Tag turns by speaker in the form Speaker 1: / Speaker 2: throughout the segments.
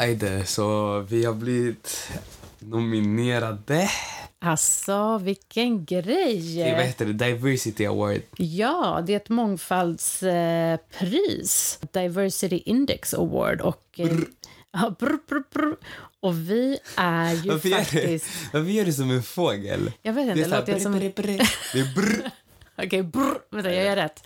Speaker 1: Ajde, så vi har blivit nominerade
Speaker 2: Alltså, vilken grej!
Speaker 1: till vad heter det? Diversity Award.
Speaker 2: Ja, det är ett mångfaldspris. Diversity Index Award. Och, eh, ja, brr, brr, brr. och vi är ju
Speaker 1: Varför gör, du,
Speaker 2: faktiskt...
Speaker 1: varför gör du som en fågel?
Speaker 2: Jag vet inte,
Speaker 1: så här,
Speaker 2: låter jag som...
Speaker 1: brr, brr, brr. Det är
Speaker 2: Okej,
Speaker 1: brr.
Speaker 2: brr. Vänta, jag gör rätt.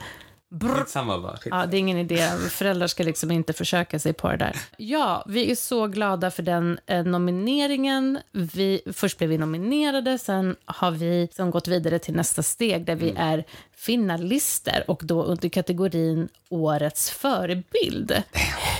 Speaker 2: Brr.
Speaker 1: Skitsamma bara. Skit.
Speaker 2: Ja, det är ingen idé. Föräldrar ska liksom inte försöka sig på det där. Ja, vi är så glada för den eh, nomineringen. Vi, först blev vi nominerade, sen har vi som gått vidare till nästa steg där vi
Speaker 1: Mm.
Speaker 2: är finalister och då under kategorin Årets förebild.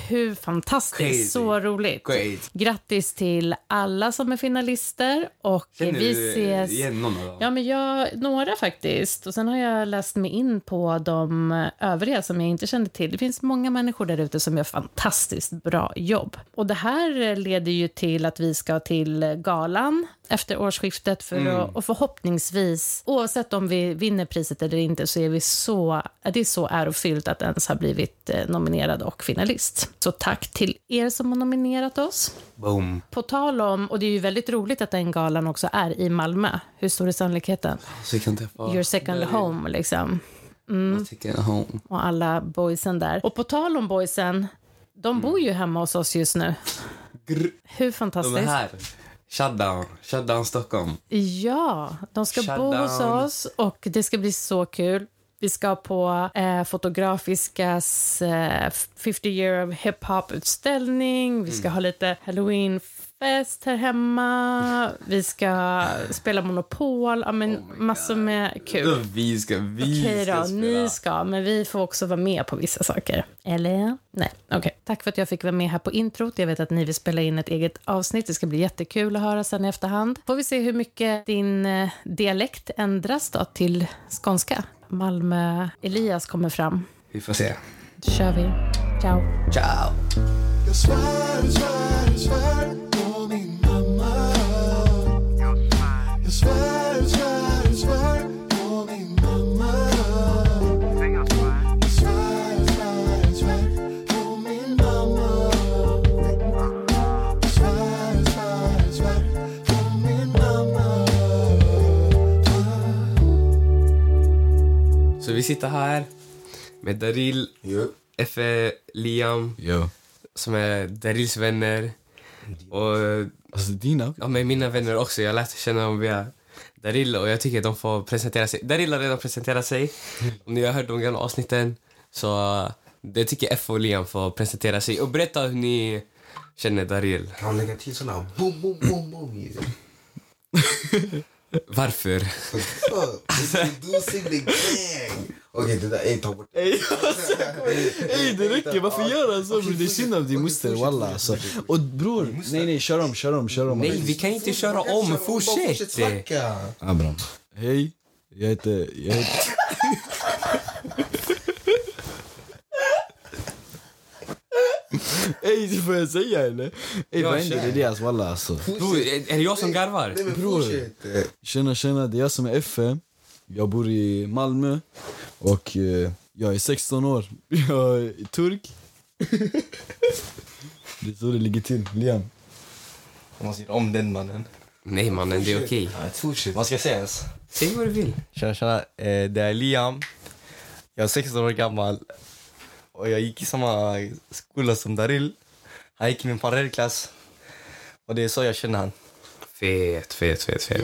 Speaker 2: Hur fantastiskt!
Speaker 1: Crazy.
Speaker 2: Så roligt!
Speaker 1: Great.
Speaker 2: Grattis till alla som är finalister och eh,
Speaker 1: Känner
Speaker 2: vi
Speaker 1: du
Speaker 2: ses...
Speaker 1: igen någon av dem?
Speaker 2: Ja, men jag, några faktiskt. Och sen har jag läst mig in på de övriga som jag inte kände till. Det finns många människor där ute som gör fantastiskt bra jobb. Och det här eh, leder ju till att vi ska till eh, galan efter årsskiftet för att, och förhoppningsvis, oavsett om vi vinner priset eller inte, så är vi så, det är så ärofyllt att ens ha blivit eh, nominerad och finalist. Så tack till er som har nominerat oss.
Speaker 1: Boom.
Speaker 2: På tal om, och det är ju väldigt roligt att den galan också är i Malmö. Hur stor är sannolikheten?
Speaker 1: Så vi kan träffa...
Speaker 2: Your second home, liksom.
Speaker 1: Your second home.
Speaker 2: Och alla boysen där. Och på tal om boysen,
Speaker 1: Mm.
Speaker 2: de bor ju hemma hos oss just nu.
Speaker 1: Grr.
Speaker 2: Hur
Speaker 1: De
Speaker 2: fantastiskt?
Speaker 1: är här. Shutdown. Shutdown Stockholm.
Speaker 2: Ja, de ska
Speaker 1: Shut
Speaker 2: bo hos
Speaker 1: down.
Speaker 2: oss och det ska bli så kul. Vi ska på eh, Fotografiskas eh, 50 year of hip hop utställning. Vi
Speaker 1: Mm.
Speaker 2: ska ha lite halloween fest här hemma. Vi ska spela Monopol. Ja,
Speaker 1: Oh
Speaker 2: men massor med kul.
Speaker 1: Vi ska, vi
Speaker 2: Okej
Speaker 1: ska
Speaker 2: då,
Speaker 1: spela.
Speaker 2: ni ska, men vi får också vara med på vissa saker. Eller? Nej, okej. Tack för att jag fick vara med här på introt. Jag vet att ni vill spela in ett eget avsnitt. Det ska bli jättekul att höra sen i efterhand. Får vi se hur mycket din eh, dialekt ändras då till skånska? Malmö-Elias kommer fram.
Speaker 1: Vi får se.
Speaker 2: Då kör vi. Ciao.
Speaker 1: Ciao!
Speaker 3: Jag svär, svär, svär på min mamma Jag svär, svär, svär på min mamma Jag svär, svär, svär på min mamma Jag svär, svär, svär på min mamma
Speaker 1: Så vi sitter här med Daril,
Speaker 4: Jo.
Speaker 1: Effe, Liam,
Speaker 4: Jo.
Speaker 1: som är Darils vänner. Och
Speaker 4: Alltså dina?
Speaker 1: ja, men mina vänner också. Jag lärde känna dem via Daril och jag tycker att de får presentera sig. Daril har redan presenterat sig. Om ni har hört de gamla avsnitten så eh, det tycker Effe och Liam får presentera sig och berätta hur ni känner Daril.
Speaker 4: Han lägger till såna här boom, boom, boom, boom.
Speaker 1: Varför?
Speaker 4: Fuck, introducing the gang. Okej, det där, ey ta bort det.
Speaker 5: Ey det räcker, varför gör han så bror? Det är synd om din moster walla alltså. Och bror, nej nej kör om, kör om, kör om.
Speaker 1: Nej, vi kan inte köra om. Fortsätt!
Speaker 4: snacka.
Speaker 5: Abram. Hej, jag heter, jag heter... Ey det får jag säga eller? Ey
Speaker 1: Ja,
Speaker 5: vad händer
Speaker 1: kör.
Speaker 5: Elias walla alltså?
Speaker 1: Bror, är är det jag som garvar?
Speaker 4: Nej men
Speaker 5: Bror.
Speaker 4: fortsätt. eh.
Speaker 5: Tjena tjena, det är jag som är Effe. Jag bor i Malmö och eh, jag är 16 år. Jag är turk. Det är så det ligger till, Liam.
Speaker 6: Man måste göra om den mannen.
Speaker 1: Nej mannen, det är okej.
Speaker 6: Nej, fortsätt. Man ska se ens.
Speaker 1: Säg vad du vill.
Speaker 6: Tjena, tjena. Eh, det är Liam. Jag är 16 år gammal. Och jag gick i samma skola som Daril. Han gick i min parallellklass. Och det är så jag känner han.
Speaker 1: Fet, fet, fet, fet.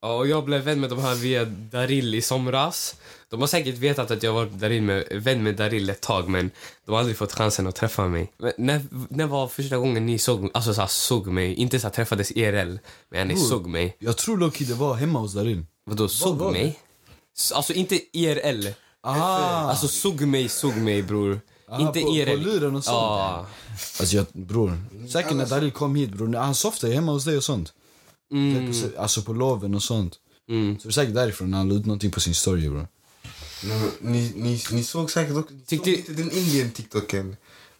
Speaker 1: Ja, och jag blev vän med de här via Daril i somras. De har säkert vetat att jag var Daril med, vän med Daril ett tag men de har aldrig fått chansen att träffa mig. Men när, när var första gången ni såg, alltså, så här, såg mig? Inte så här, träffades IRL, men ni såg mig.
Speaker 5: Jag tror Loki det var hemma hos Darin.
Speaker 1: Vadå, såg
Speaker 5: var det?
Speaker 1: mig? S- Alltså inte IRL.
Speaker 5: Ah.
Speaker 1: Alltså såg mig, såg mig bror.
Speaker 5: Ah,
Speaker 1: inte E
Speaker 5: på- på
Speaker 1: IRL.
Speaker 5: luren och sånt.
Speaker 1: Ja.
Speaker 5: Alltså jag, bror. Säkert när Darin kom hit bror. Han softade hemma hos dig och sånt. Säkert på- Alltså på loven och sånt.
Speaker 1: Mm.
Speaker 5: Så det är säkert därifrån han la ut någonting på sin story bror.
Speaker 4: Nej, men Ni, ni, ni såg säkert också, ni såg
Speaker 1: Tyckte-
Speaker 4: inte den Indien-tiktoken?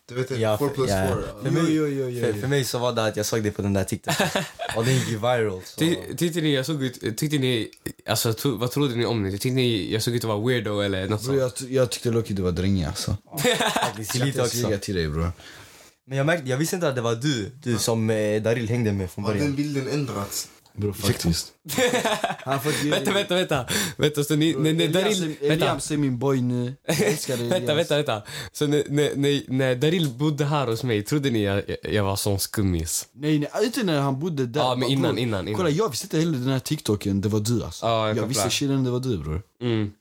Speaker 4: Du vet
Speaker 6: Ja,
Speaker 4: den, 4 plus
Speaker 6: ja.
Speaker 4: 4.
Speaker 5: Jo, jo, jo,
Speaker 6: För, för mig så var det att jag såg det på den där TikToken. Och den gick ju viral. Så.
Speaker 1: Ty, tyckte ni jag såg ut, tyckte ni, alltså to, vad trodde ni om mig? Tyckte ni jag såg ut att vara weirdo eller något sånt?
Speaker 5: Bror jag, ty- jag tyckte Loki du var drängig alltså.
Speaker 6: Faktiskt lite
Speaker 5: Jag ska
Speaker 6: också.
Speaker 5: till dig bror.
Speaker 6: Men jag, märkte, jag visste inte att det var du, du som eh, Daril hängde med från
Speaker 4: Har den
Speaker 6: början.
Speaker 4: bilden ändrats?
Speaker 5: Bror faktiskt. Han får
Speaker 1: Vänta, vänta, vänta. Vänta, så ni, när, när Daril... Vänta,
Speaker 5: Elias är min boy nu. Jag älskar dig
Speaker 1: vänta, vänta, vänta. Så när, när, när, när Daril bodde här hos mig, trodde ni jag, jag- jag var sån skummis?
Speaker 5: Nej, nej, inte när han bodde där.
Speaker 1: Ja, men
Speaker 5: Bror,
Speaker 1: innan, innan, innan.
Speaker 5: Kolla, jag visste inte heller den här TikToken, det var du alltså.
Speaker 1: Ja, jag
Speaker 5: jag
Speaker 1: kopplar.
Speaker 5: visste chillen, det var du bror.
Speaker 1: Mm.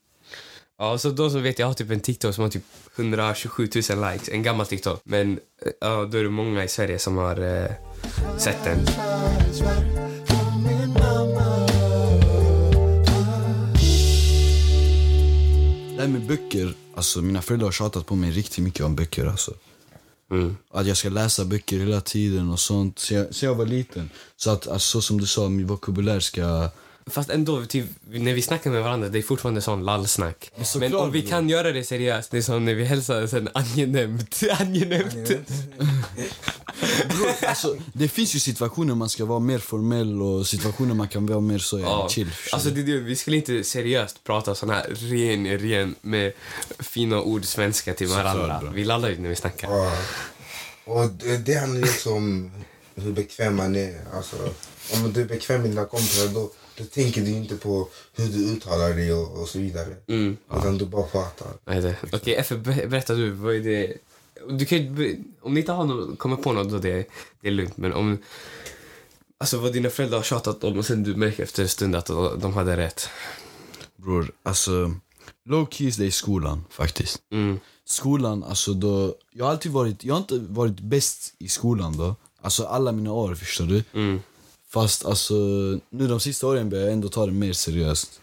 Speaker 1: Ja, så då så vet jag, jag har typ en TikTok som har typ 127 000 likes. En gammal TikTok. Men eh, ja, då är det många i Sverige som har eh, sett den.
Speaker 5: Det här med böcker, alltså mina föräldrar har tjatat på mig riktigt mycket om böcker alltså.
Speaker 1: Mm.
Speaker 5: Att jag ska läsa böcker hela tiden och sånt, sen jag, sen jag var liten. Så att, alltså, så som du sa, min vokabulär ska...
Speaker 1: Fast ändå, typ, när vi snackar med varandra, det är fortfarande sån lallsnack.
Speaker 5: såklart,
Speaker 1: Men om vi
Speaker 5: bro.
Speaker 1: kan göra det seriöst, det är som när vi hälsar sen angenämt. angenämt.
Speaker 5: Alltså, det finns ju situationer man ska vara mer formell och situationer man kan vara mer så ja,
Speaker 1: Ja.
Speaker 5: chill. förstår
Speaker 1: Alltså,
Speaker 5: du?
Speaker 1: det, är det, vi skulle inte seriöst prata sån här ren, ren med fina ord svenska till varandra.
Speaker 5: bro.
Speaker 1: vi lallar ju när vi snackar.
Speaker 4: Ja. Och det, det handlar ju också om hur bekväm man är. Alltså, om du är bekväm med dina kompisar då, då tänker du ju inte på hur du uttalar dig och, och så vidare.
Speaker 1: Mm.
Speaker 4: Utan du bara pratar.
Speaker 1: Vad heter det? Okej, Effe, ber- berätta du. Vad är det? Du kan, ju be- om ni inte har någon, kommer på något, då det, det är lugnt. Men om... Alltså vad dina föräldrar har tjatat om och sen du märker efter en stund att de hade rätt.
Speaker 5: Bror, alltså... Low keys det är skolan faktiskt.
Speaker 1: Mm.
Speaker 5: Skolan, alltså då... Jag har alltid varit... Jag har inte varit bäst i skolan då. Alltså alla mina år, förstår du?
Speaker 1: Mm.
Speaker 5: Fast alltså, nu de sista åren börjar jag ändå ta det mer seriöst.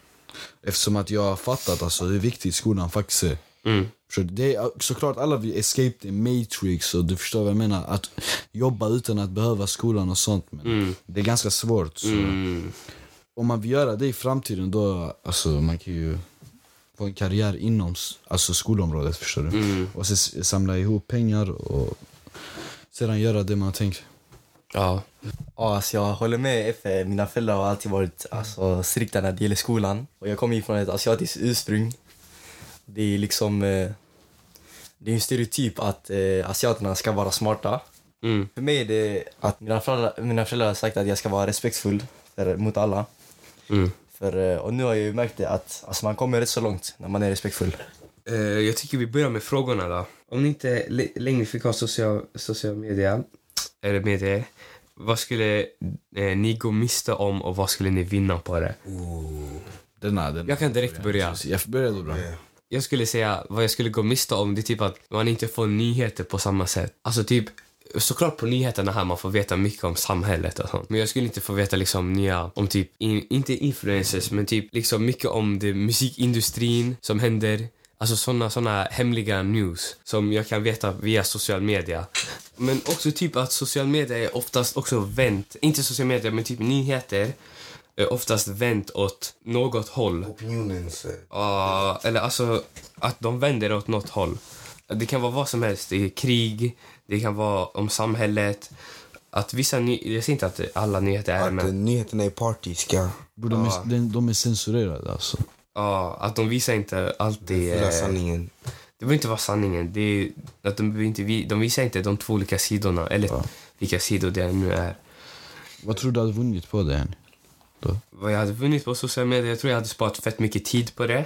Speaker 5: Eftersom att jag har fattat alltså, hur viktigt skolan faktiskt är.
Speaker 1: Mm.
Speaker 5: För det är såklart alla vi escape the matrix och du förstår vad jag menar. Att jobba utan att behöva skolan och sånt. Men det är ganska svårt. Så.
Speaker 1: Mm.
Speaker 5: Om man vill göra det i framtiden då, alltså man kan ju få en karriär inom s- alltså, skolområdet förstår du.
Speaker 1: Mm.
Speaker 5: Och sen s- samla ihop pengar och sedan göra det man har tänkt.
Speaker 1: Ja.
Speaker 6: Ja, alltså jag håller med Effe. Mina föräldrar har alltid varit alltså, strikta när det gäller skolan. Och jag kommer ju från ett asiatiskt ursprung. Det är liksom... Eh, det är en stereotyp att eh, asiaterna ska vara smarta.
Speaker 1: Mm.
Speaker 6: För mig är det att mina föräldrar, mina föräldrar har sagt att jag ska vara respektfull för, mot alla.
Speaker 1: Mm.
Speaker 6: För, eh, och nu har jag ju märkt det att alltså, man kommer rätt så långt när man är respektfull.
Speaker 1: Eh, jag tycker vi börjar med frågorna då. Om ni inte l- längre fick ha social, social media, eller medier, vad skulle eh, ni gå miste om och vad skulle ni vinna på det?
Speaker 5: Denna, denna.
Speaker 1: Jag kan direkt börja.
Speaker 5: Jag börjar då bra.
Speaker 1: jag skulle säga vad jag skulle gå miste om det är typ att man inte får nyheter på samma sätt. Alltså typ Såklart på nyheterna här man får veta mycket om samhället och sånt. Men jag skulle inte få veta liksom nya, om typ, in, inte influencers, men typ liksom mycket om det musikindustrin som händer. Alltså såna, såna hemliga news som jag kan veta via social media. Men också typ att social media är oftast också vänt, inte social media men typ nyheter är oftast vänt åt något håll.
Speaker 4: Opinionens... eh,
Speaker 1: Ja, eller alltså att de vänder åt något håll. Det kan vara vad som helst. Det är krig, det kan vara om samhället. Att vissa ny- jag säger inte att alla nyheter är det,
Speaker 4: Att eh,
Speaker 1: men
Speaker 4: nyheterna är partiska.
Speaker 5: Bro, de, är, de, de är censurerade alltså.
Speaker 1: ja, att de visar inte alltid...
Speaker 4: Hela
Speaker 1: eh,
Speaker 4: sanningen.
Speaker 1: Det behöver inte vara sanningen. Det är att de, behöver inte, vi- de visar inte de två olika sidorna, eller vilka sidor det nu är.
Speaker 5: Vad tror du hade vunnit på det? Henny?
Speaker 1: vad jag hade vunnit på sociala medier. Jag tror jag hade sparat fett mycket tid på det.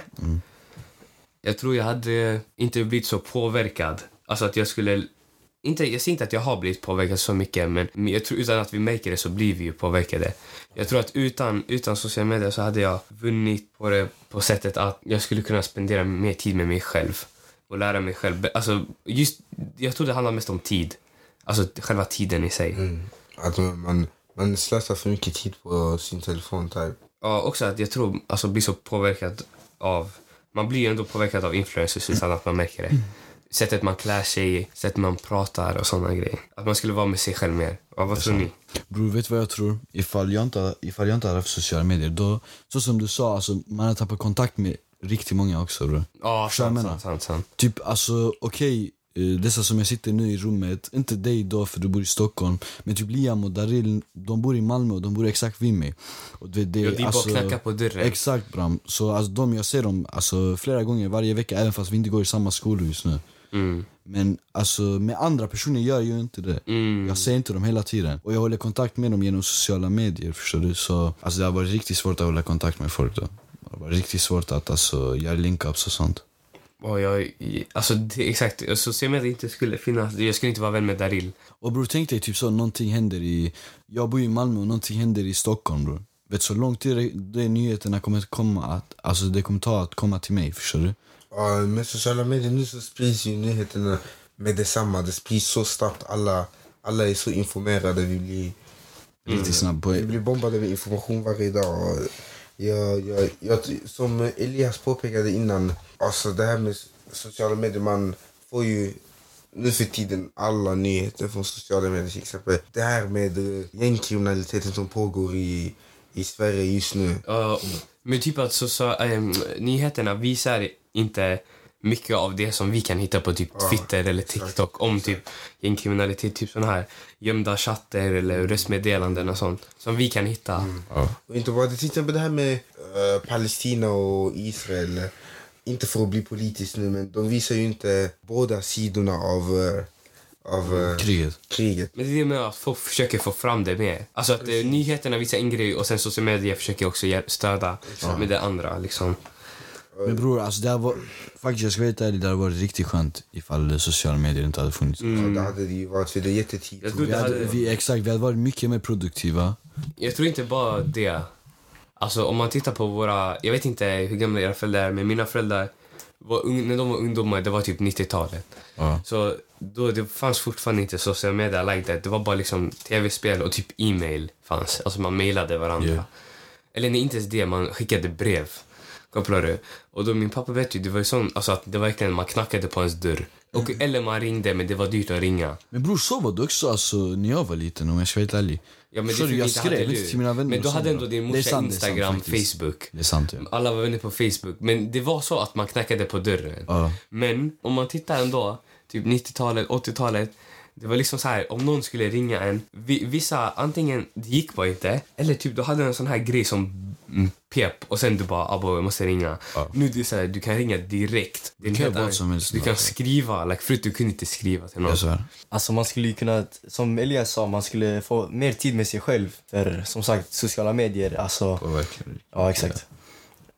Speaker 1: Jag tror jag hade inte blivit så påverkad. Alltså att jag skulle... Inte, jag säger inte att jag har blivit påverkad så mycket, men men jag tror, utan att vi märker det så blir vi ju påverkade. Jag tror att utan, utan sociala medier så hade jag vunnit på det på sättet att jag skulle kunna spendera mer tid med mig själv och lära mig själv. Alltså, just, jag tror det handlar mest om tid. Alltså själva tiden i sig.
Speaker 4: Mm. Att man, man slösar för mycket tid på sin telefon. Typ.
Speaker 1: Ja, också att jag tror alltså blir så påverkad av... Man blir ju ändå påverkad av influencers utan att man märker det. Sättet man klär sig, sättet man pratar och sådana grejer. Att man skulle vara med sig själv mer. Ja, vad tror ni?
Speaker 5: Bror, vet du vad jag tror? Ifall jag inte, ifall jag inte hade haft sociala medier, då, så som du sa, alltså, man hade tappat kontakt med riktigt många också. Bro.
Speaker 1: Ja,
Speaker 5: Förstår
Speaker 1: sant,
Speaker 5: jag menar?
Speaker 1: sant, sant, sant.
Speaker 5: Typ, alltså, okej, eh, dessa som jag sitter nu i rummet, inte dig då för du bor i Stockholm, men typ Liam och Daril, de bor i Malmö och de bor exakt vid mig. Och det, det,
Speaker 1: Ja, det är bara att knacka på dörren.
Speaker 5: alltså, Exakt Bram. Så alltså, de, jag ser dem alltså, flera gånger varje vecka, även fast vi inte går i samma skolor just nu.
Speaker 1: Mm.
Speaker 5: Men alltså med andra personer gör jag ju inte det.
Speaker 1: Mm.
Speaker 5: Jag ser inte dem hela tiden. Och jag håller kontakt med dem genom sociala medier. Förstår du? Så, alltså, det har varit riktigt svårt att hålla kontakt med folk. Då. Det har varit riktigt svårt att alltså, göra link-ups och sånt.
Speaker 1: Och jag, alltså, det, exakt. Så ser man att det inte skulle finnas. Jag skulle inte vara vän med Daril.
Speaker 5: Och bror tänk dig typ så, någonting händer i... Jag bor i Malmö och någonting händer i Stockholm bror. Vet så lång tid det, det nyheterna kommer att komma att... Alltså det kommer ta att komma till mig, förstår du?
Speaker 4: Ja, med sociala medier nu så sprids ju nyheterna med detsamma. Det sprids så snabbt. Alla, alla är så informerade. Vi blir,
Speaker 5: Riktigt
Speaker 1: Mm.
Speaker 5: snabbt.
Speaker 4: vi
Speaker 5: På,
Speaker 4: blir bombade med information varje dag. Och Jag, jag, jag, som Elias påpekade innan, alltså det här med sociala medier, man får ju nu för tiden alla nyheter från sociala medier. Till exempel det här med eh, gängkriminaliteten som pågår i, i Sverige just nu.
Speaker 1: Ja, men typ att så, så, ehm, nyheterna visar inte mycket av det som vi kan hitta på typ Twitter eller TikTok om typ gängkriminalitet, typ såna här gömda chatter eller röstmeddelanden och sånt som vi kan hitta.
Speaker 4: Och inte bara det, till exempel det här med eh, Palestina och Israel. Inte för att bli politisk nu, men de visar ju inte båda sidorna av, eh, av eh,
Speaker 5: kriget.
Speaker 4: kriget.
Speaker 1: Men det är det med att folk försöker få fram det mer. Alltså att eh, nyheterna visar en grej och sen sociala medier försöker också hjäl- stödja med det andra liksom.
Speaker 5: Men bror, alltså det här var... Faktiskt, jag ska vara helt ärlig, det hade varit riktigt skönt ifall sociala medier inte hade funnits.
Speaker 1: Mm.
Speaker 4: Ja, det hade det ju varit, för det är
Speaker 1: Jag
Speaker 4: jättetidigt.
Speaker 1: tror,
Speaker 5: Vi
Speaker 1: det
Speaker 5: hade,
Speaker 1: hade,
Speaker 5: vi, exakt, vi hade varit mycket mer produktiva.
Speaker 1: jag tror inte bara det. Alltså om man tittar på våra, jag vet inte hur gamla era föräldrar är, men mina föräldrar var, ung- när de var ungdomar, det var typ 90-talet.
Speaker 5: Ja.
Speaker 1: Så då, det fanns fortfarande inte sociala medier like that. Det var bara liksom tv-spel och typ e-mail fanns. Alltså man mejlade varandra.
Speaker 5: Ja.
Speaker 1: Eller nej, inte ens det, man skickade brev. Kopplar du? Och då min pappa vet ju, det var ju sån, alltså att det var verkligen, man knackade på hans dörr. Och,
Speaker 5: Mm.
Speaker 1: Eller man ringde, men det var dyrt att ringa.
Speaker 5: Men bror, så var det också alltså, när jag var liten om jag ska vara helt ärlig.
Speaker 1: Ja, men det
Speaker 5: Förstår du,
Speaker 1: fick
Speaker 5: jag
Speaker 1: inte hade
Speaker 5: skrev
Speaker 1: du.
Speaker 5: inte till mina vänner.
Speaker 1: Men då
Speaker 5: och sånt
Speaker 1: hade
Speaker 5: där.
Speaker 1: ändå din
Speaker 5: Det är
Speaker 1: morsa
Speaker 5: sant, det är sant
Speaker 1: Instagram,
Speaker 5: faktiskt.
Speaker 1: Facebook.
Speaker 5: Det är sant, ja.
Speaker 1: Alla var vänner på Facebook. Men det var så att man knackade på dörren.
Speaker 5: Ja.
Speaker 1: Men om man tittar ändå, typ 90-talet, 80-talet. Det var liksom så här, om någon skulle ringa en. vi- Vissa, antingen det gick bara inte. Eller typ du hade en sån här grej som mm, pep och sen du bara abo jag måste ringa. Nu det är så här, du kan ringa direkt. Det är en
Speaker 5: kan
Speaker 1: helt
Speaker 5: göra vad
Speaker 1: annan-
Speaker 5: som helst
Speaker 1: Du
Speaker 5: nu,
Speaker 1: kan
Speaker 5: alltså.
Speaker 1: skriva, like, förut du kunde inte skriva till någon.
Speaker 5: Jag svär.
Speaker 6: Alltså man skulle ju kunna, som Elias sa, man skulle få mer tid med sig själv. För som sagt, sociala medier, alltså. Ja, exakt.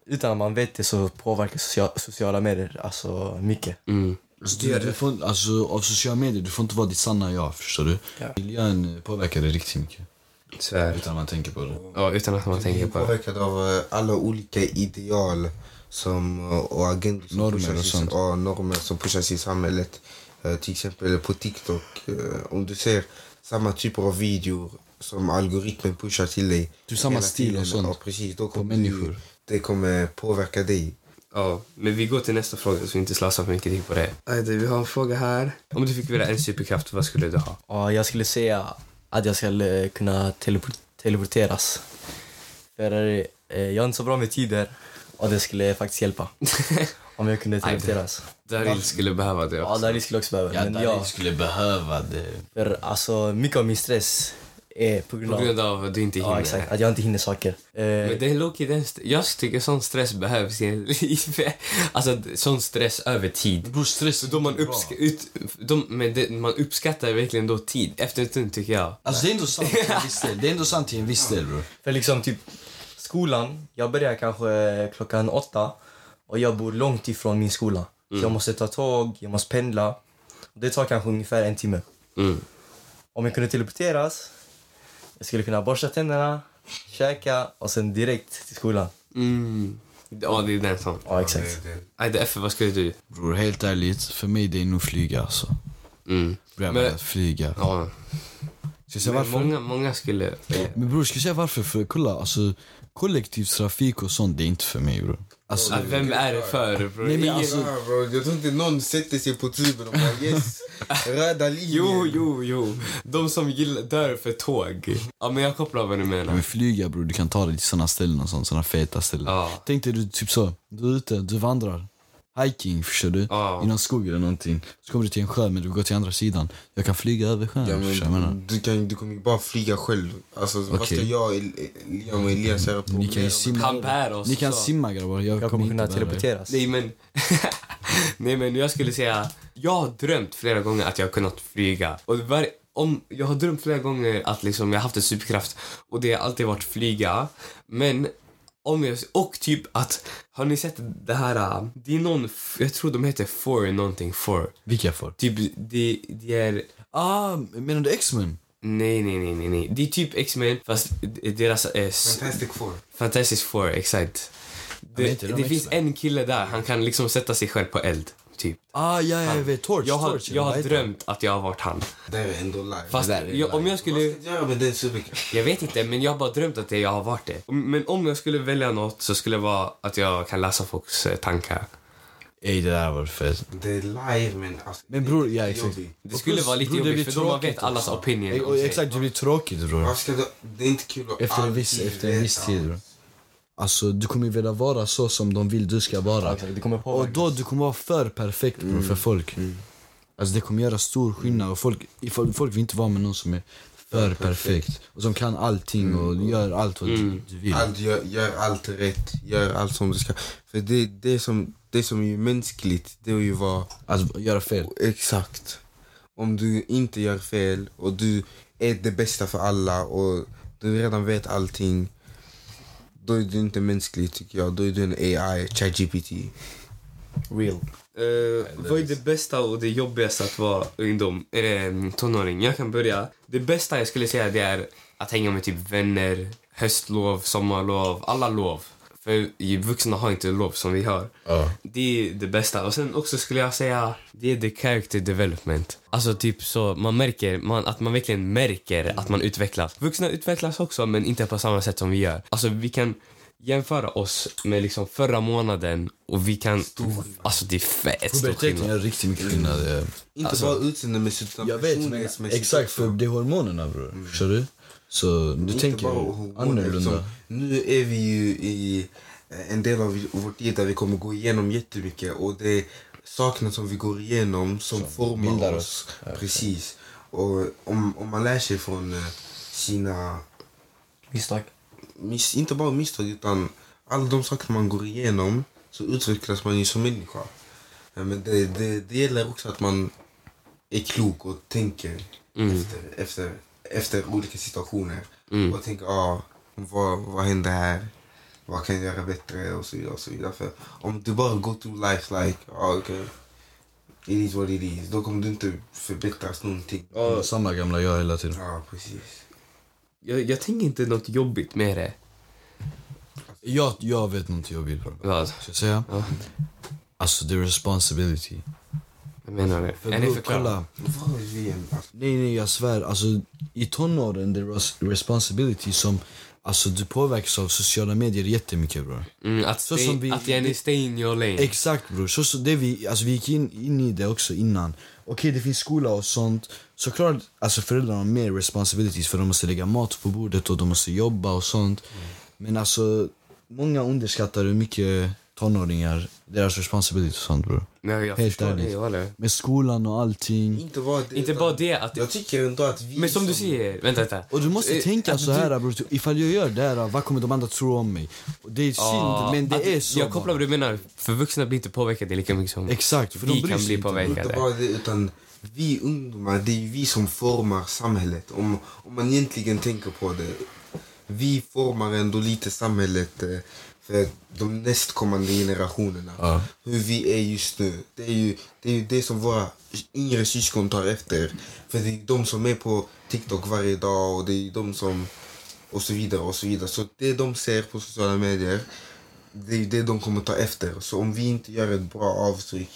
Speaker 6: Utan att man vet det så påverkar socia- sociala medier alltså mycket.
Speaker 1: Mm.
Speaker 5: Alltså, du, du får, alltså, av sociala medier, du får inte vara ditt sanna jag, förstår du?
Speaker 6: Ja.
Speaker 5: Miljön påverkar det riktigt mycket.
Speaker 1: Svär.
Speaker 5: Utan att man tänker på det.
Speaker 1: Ja, utan att man
Speaker 4: Vi
Speaker 1: tänker
Speaker 4: är
Speaker 1: på det.
Speaker 4: påverkade av eh, alla olika ideal som, eh, och agendor som
Speaker 5: Normer
Speaker 4: pushas
Speaker 5: och
Speaker 4: i-
Speaker 5: sånt.
Speaker 4: Ja, normer som pushas i samhället. Eh, Till exempel på TikTok. eh, Om du ser samma typer av videor som algoritmen pushar till dig.
Speaker 5: Du, samma
Speaker 4: hela
Speaker 5: stil och
Speaker 4: tiden,
Speaker 5: sånt.
Speaker 4: Ja, precis. Då kommer
Speaker 5: människor.
Speaker 4: Du, det kommer påverka dig.
Speaker 1: Ja, men vi går till nästa fråga så vi inte slösar för mycket tid på det. Ajde, vi har en fråga här. Om du fick välja en superkraft, vad skulle du ha?
Speaker 6: Ja, jag skulle säga att jag skulle kunna telepor- teleporteras. För eh, jag är inte så bra med tider och det skulle faktiskt hjälpa. Om jag kunde teleporteras.
Speaker 1: Daryl skulle behöva det
Speaker 6: Ja,
Speaker 1: också.
Speaker 6: Darin skulle också behöva det. Men jag,
Speaker 5: skulle behöva det.
Speaker 6: för alltså mycket av min stress är på grund
Speaker 1: På
Speaker 6: av
Speaker 1: grund av att du inte hinner.
Speaker 6: ja, exakt, att jag inte hinner saker. Eh,
Speaker 1: Men det är Loki, den st- jag tycker sån stress behövs i livet. Alltså sån stress över tid.
Speaker 5: Bror, stress
Speaker 1: Så då man, uppsk- ut, de, men det, man uppskattar verkligen då tid. Efter en stund tycker jag.
Speaker 5: Alltså det är ändå sant till en viss del. Det är ändå sant till en viss del bror.
Speaker 6: För liksom typ skolan, jag börjar kanske klockan åtta och jag bor långt ifrån min skola. Så jag måste ta tåg, jag måste pendla. Det tar kanske ungefär en timme.
Speaker 1: Mm.
Speaker 6: Om jag kunde teleporteras, jag skulle kunna borsta tänderna, käka och sen direkt till skolan.
Speaker 1: Mm. Ja, det är den sån.
Speaker 6: Ja, exakt.
Speaker 1: Ajde, F, vad skulle du?
Speaker 5: Bror helt ärligt, för mig det är nog flyga alltså.
Speaker 1: Mm.
Speaker 5: Bror jag
Speaker 1: Men-
Speaker 5: vill flyga.
Speaker 1: Ja.
Speaker 5: Ska jag säga
Speaker 1: Men
Speaker 5: varför?
Speaker 1: många, många skulle...
Speaker 5: Men bror, ska jag säga varför? För kolla, alltså kollektivtrafik och sånt, det är inte för mig bror. Alltså,
Speaker 1: Ah, Vem är det för? bror?
Speaker 5: Nej, men
Speaker 1: Ingen-
Speaker 5: alltså-
Speaker 4: Ja, bro, jag tror inte någon sätter sig på tuben och bara yes, röda linjen.
Speaker 1: Jo, jo, jo. De som gillar, dör för tåg. Ja, men jag kopplar vad du
Speaker 5: Ja,
Speaker 1: menar.
Speaker 5: men flyga bror, du kan ta dig till såna ställen och sånt, såna feta ställen.
Speaker 1: Ja.
Speaker 5: Tänk dig du typ så, du är ute, du vandrar. Hiking, förstår du?
Speaker 1: Ja.
Speaker 5: I någon skog eller någonting. Så kommer du till en sjö men du går till andra sidan. Jag kan flyga över sjön,
Speaker 4: Ja,
Speaker 5: förstår du vad jag menar?
Speaker 4: men du, kan, du kommer ju bara flyga själv. Alltså, Vad ska
Speaker 5: Okej.
Speaker 4: jag, El- Liam och Elias göra på
Speaker 5: Ni kan ju
Speaker 4: mer?
Speaker 5: simma.
Speaker 1: Han bär oss.
Speaker 5: Ni kan
Speaker 1: så.
Speaker 5: simma grabbar, jag,
Speaker 6: Jag kommer
Speaker 5: inte
Speaker 6: kunna
Speaker 5: bära er.
Speaker 6: teleporteras.
Speaker 1: Nej men, nej men jag skulle säga Jag har drömt flera gånger att jag har kunnat flyga. Och var, om, jag har drömt flera gånger att liksom jag har haft en superkraft och det har alltid varit flyga. Men om jag, och typ att, har ni sett det här, äh, det är någon, f- jag tror de heter for någonting for.
Speaker 5: Vilka får?
Speaker 1: Typ, det, det är,
Speaker 5: Ah, menar du X-Men?
Speaker 1: nej, nej, nej, nej, nej. Det är typ X-Men fast deras, eh, s-
Speaker 4: Fantastic Four.
Speaker 1: Fantastic Four, exakt.
Speaker 5: men
Speaker 1: Det,
Speaker 5: inte de
Speaker 1: det finns
Speaker 5: X-Men.
Speaker 1: en kille där, han kan liksom sätta sig själv på eld. Typ.
Speaker 5: Ah, ja, ja, jag vet. Torch.
Speaker 1: Jag har,
Speaker 5: torch,
Speaker 1: jag har
Speaker 5: vad heter
Speaker 1: drömt att jag har varit han.
Speaker 4: Det är ändå live.
Speaker 1: Fast
Speaker 5: där är
Speaker 1: jag, om jag
Speaker 4: Vad
Speaker 1: skulle...
Speaker 4: ska jag göra med den superkraften?
Speaker 1: Jag vet inte, men jag har bara drömt att det- jag har varit det. Men om jag skulle välja något så skulle det vara att jag kan läsa folks eh, tankar.
Speaker 5: han? Ey, det där var fett.
Speaker 4: Det är live men alltså.
Speaker 5: Men bror, ja exakt.
Speaker 4: jobbigt.
Speaker 1: Det skulle vara lite jobbigt för då man vet allas opinion.
Speaker 5: Ey,
Speaker 1: om
Speaker 5: och,
Speaker 1: sig.
Speaker 5: exakt, det blir tråkigt bror.
Speaker 4: Vad ska du... Det är inte kul att
Speaker 5: Efter en viss,
Speaker 4: alltid
Speaker 5: efter en viss
Speaker 4: veta.
Speaker 5: tid bror. Alltså du kommer ju vilja vara så som de vill du ska vara.
Speaker 6: Exakt, det kommer påverka.
Speaker 5: Och då du kommer vara för perfekt bror för folk. Alltså det kommer göra stor skillnad och folk, ifall- folk vill inte vara med någon som är för perfekt. Och som kan allting och gör allt vad du, du vill.
Speaker 4: Allt, gör, gör allt rätt, gör allt som du ska. För det, det, som, det som är mänskligt, det är ju vara
Speaker 5: Alltså göra fel.
Speaker 4: exakt. Om du inte gör fel och du är det bästa för alla och du redan vet allting. Då är du inte mänsklig tycker jag. Då är du en AI, ChatGPT.
Speaker 6: Real.
Speaker 1: Eh, vad är det bästa och det jobbigaste att vara ungdom, eller mm, tonåring? Jag kan börja. Det bästa jag skulle säga det är att hänga med typ vänner, höstlov, sommarlov, alla lov. För i- vuxna har inte lov som vi har. Det är det bästa. Och sen också skulle jag säga, det är the character development. Alltså typ så, man märker, man, att man verkligen märker att man utvecklas. Vuxna utvecklas också men inte på samma sätt som vi gör. Alltså vi kan jämföra oss med liksom förra månaden och vi kan... Alltså det är fett stor
Speaker 5: Puberteten
Speaker 1: skillnad.
Speaker 5: gör riktigt mycket skillnad. eh.
Speaker 4: Inte bara utseende men utan
Speaker 5: Jag vet, men
Speaker 4: personlighetsmässigt
Speaker 5: exakt
Speaker 4: också.
Speaker 5: för det är hormonerna bror. Förstår du? Så du
Speaker 4: Inte
Speaker 5: tänker
Speaker 4: bara hormoner,
Speaker 5: annorlunda.
Speaker 4: liksom. Nu är vi ju i eh, en del av vår tid där vi kommer gå igenom jättemycket och det är sakerna som vi går igenom som, formar
Speaker 5: bildar
Speaker 4: oss. Precis. Och om, om man lär sig från eh, sina,
Speaker 6: Misstag.
Speaker 4: miss, inte bara misstag utan alla de saker man går igenom så utvecklas man ju som människa. Eh, Men det, det, det gäller också att man är klok och tänker efter, efter, efter olika situationer. Och tänker, ah, vad, vad hände här? Vad kan jag göra bättre? Och så vidare. Och så vidare. För om du bara går through life like, ah, okay, it is what it is. Då kommer du inte förbättras någonting.
Speaker 5: Ja, Samma gamla jag hela tiden.
Speaker 4: Ja, precis.
Speaker 1: Jag, jag tänker inte något jobbigt med det.
Speaker 5: Jag, jag vet något jobbigt bror.
Speaker 1: Vad?
Speaker 5: Ska jag säga?
Speaker 1: Ja.
Speaker 5: Alltså the responsibility.
Speaker 1: Jag menar det. Är ni
Speaker 5: bror,
Speaker 1: förklara?
Speaker 4: Vad är vi än? Alltså,
Speaker 5: Nej, nej, jag svär. Alltså, I tonåren, det är res- responsibility som... Alltså, du påverkas av sociala medier jättemycket, bror.
Speaker 1: Mm, att,
Speaker 5: Så
Speaker 1: stay,
Speaker 5: som vi-
Speaker 1: att jag är stay in your lane.
Speaker 5: Exakt, bror. Så, så det vi, alltså, vi gick in, in i det också innan. Okej, det finns skola och sånt. Såklart, alltså, föräldrarna har mer responsibilities för de måste lägga mat på bordet och de måste jobba och sånt. Men alltså, många underskattar hur mycket tonåringar, deras responsibilities och sånt, bror.
Speaker 1: Nej, jag
Speaker 5: Helt
Speaker 1: förstår
Speaker 5: ärligt.
Speaker 1: det. Jag håller.
Speaker 5: Med skolan och allting.
Speaker 4: inte bara det.
Speaker 1: Inte
Speaker 4: utan-
Speaker 1: bara det att...
Speaker 4: Jag tycker ändå att vi...
Speaker 1: Men som du säger, vänta, vänta.
Speaker 5: Och du måste
Speaker 1: Eh,
Speaker 5: tänka
Speaker 1: att
Speaker 5: så här bror, ifall jag gör det här, vad kommer de andra tro om mig? Och Det är synd,
Speaker 1: Ja,
Speaker 5: men
Speaker 1: att-
Speaker 5: det är så
Speaker 1: Jag kopplar vad
Speaker 5: bara.
Speaker 1: du menar, för vuxna blir inte påverkade lika mycket som
Speaker 5: Exakt, för
Speaker 1: vi
Speaker 5: de bryr
Speaker 1: kan
Speaker 5: sig
Speaker 1: bli
Speaker 5: inte.
Speaker 1: påverkade.
Speaker 4: Inte bara det, utan vi ungdomar, det är ju vi som formar samhället. Om, om man egentligen tänker på det. Vi formar ändå lite samhället eh, för de nästkommande generationerna. Hur vi är just nu. Det är ju det, är ju det som våra yngre syskon tar efter. För det är de som är på TikTok varje dag och det är de som... Och så vidare och så vidare. Så det de ser på sociala medier det är ju det de kommer ta efter. Så om vi inte gör ett bra avtryck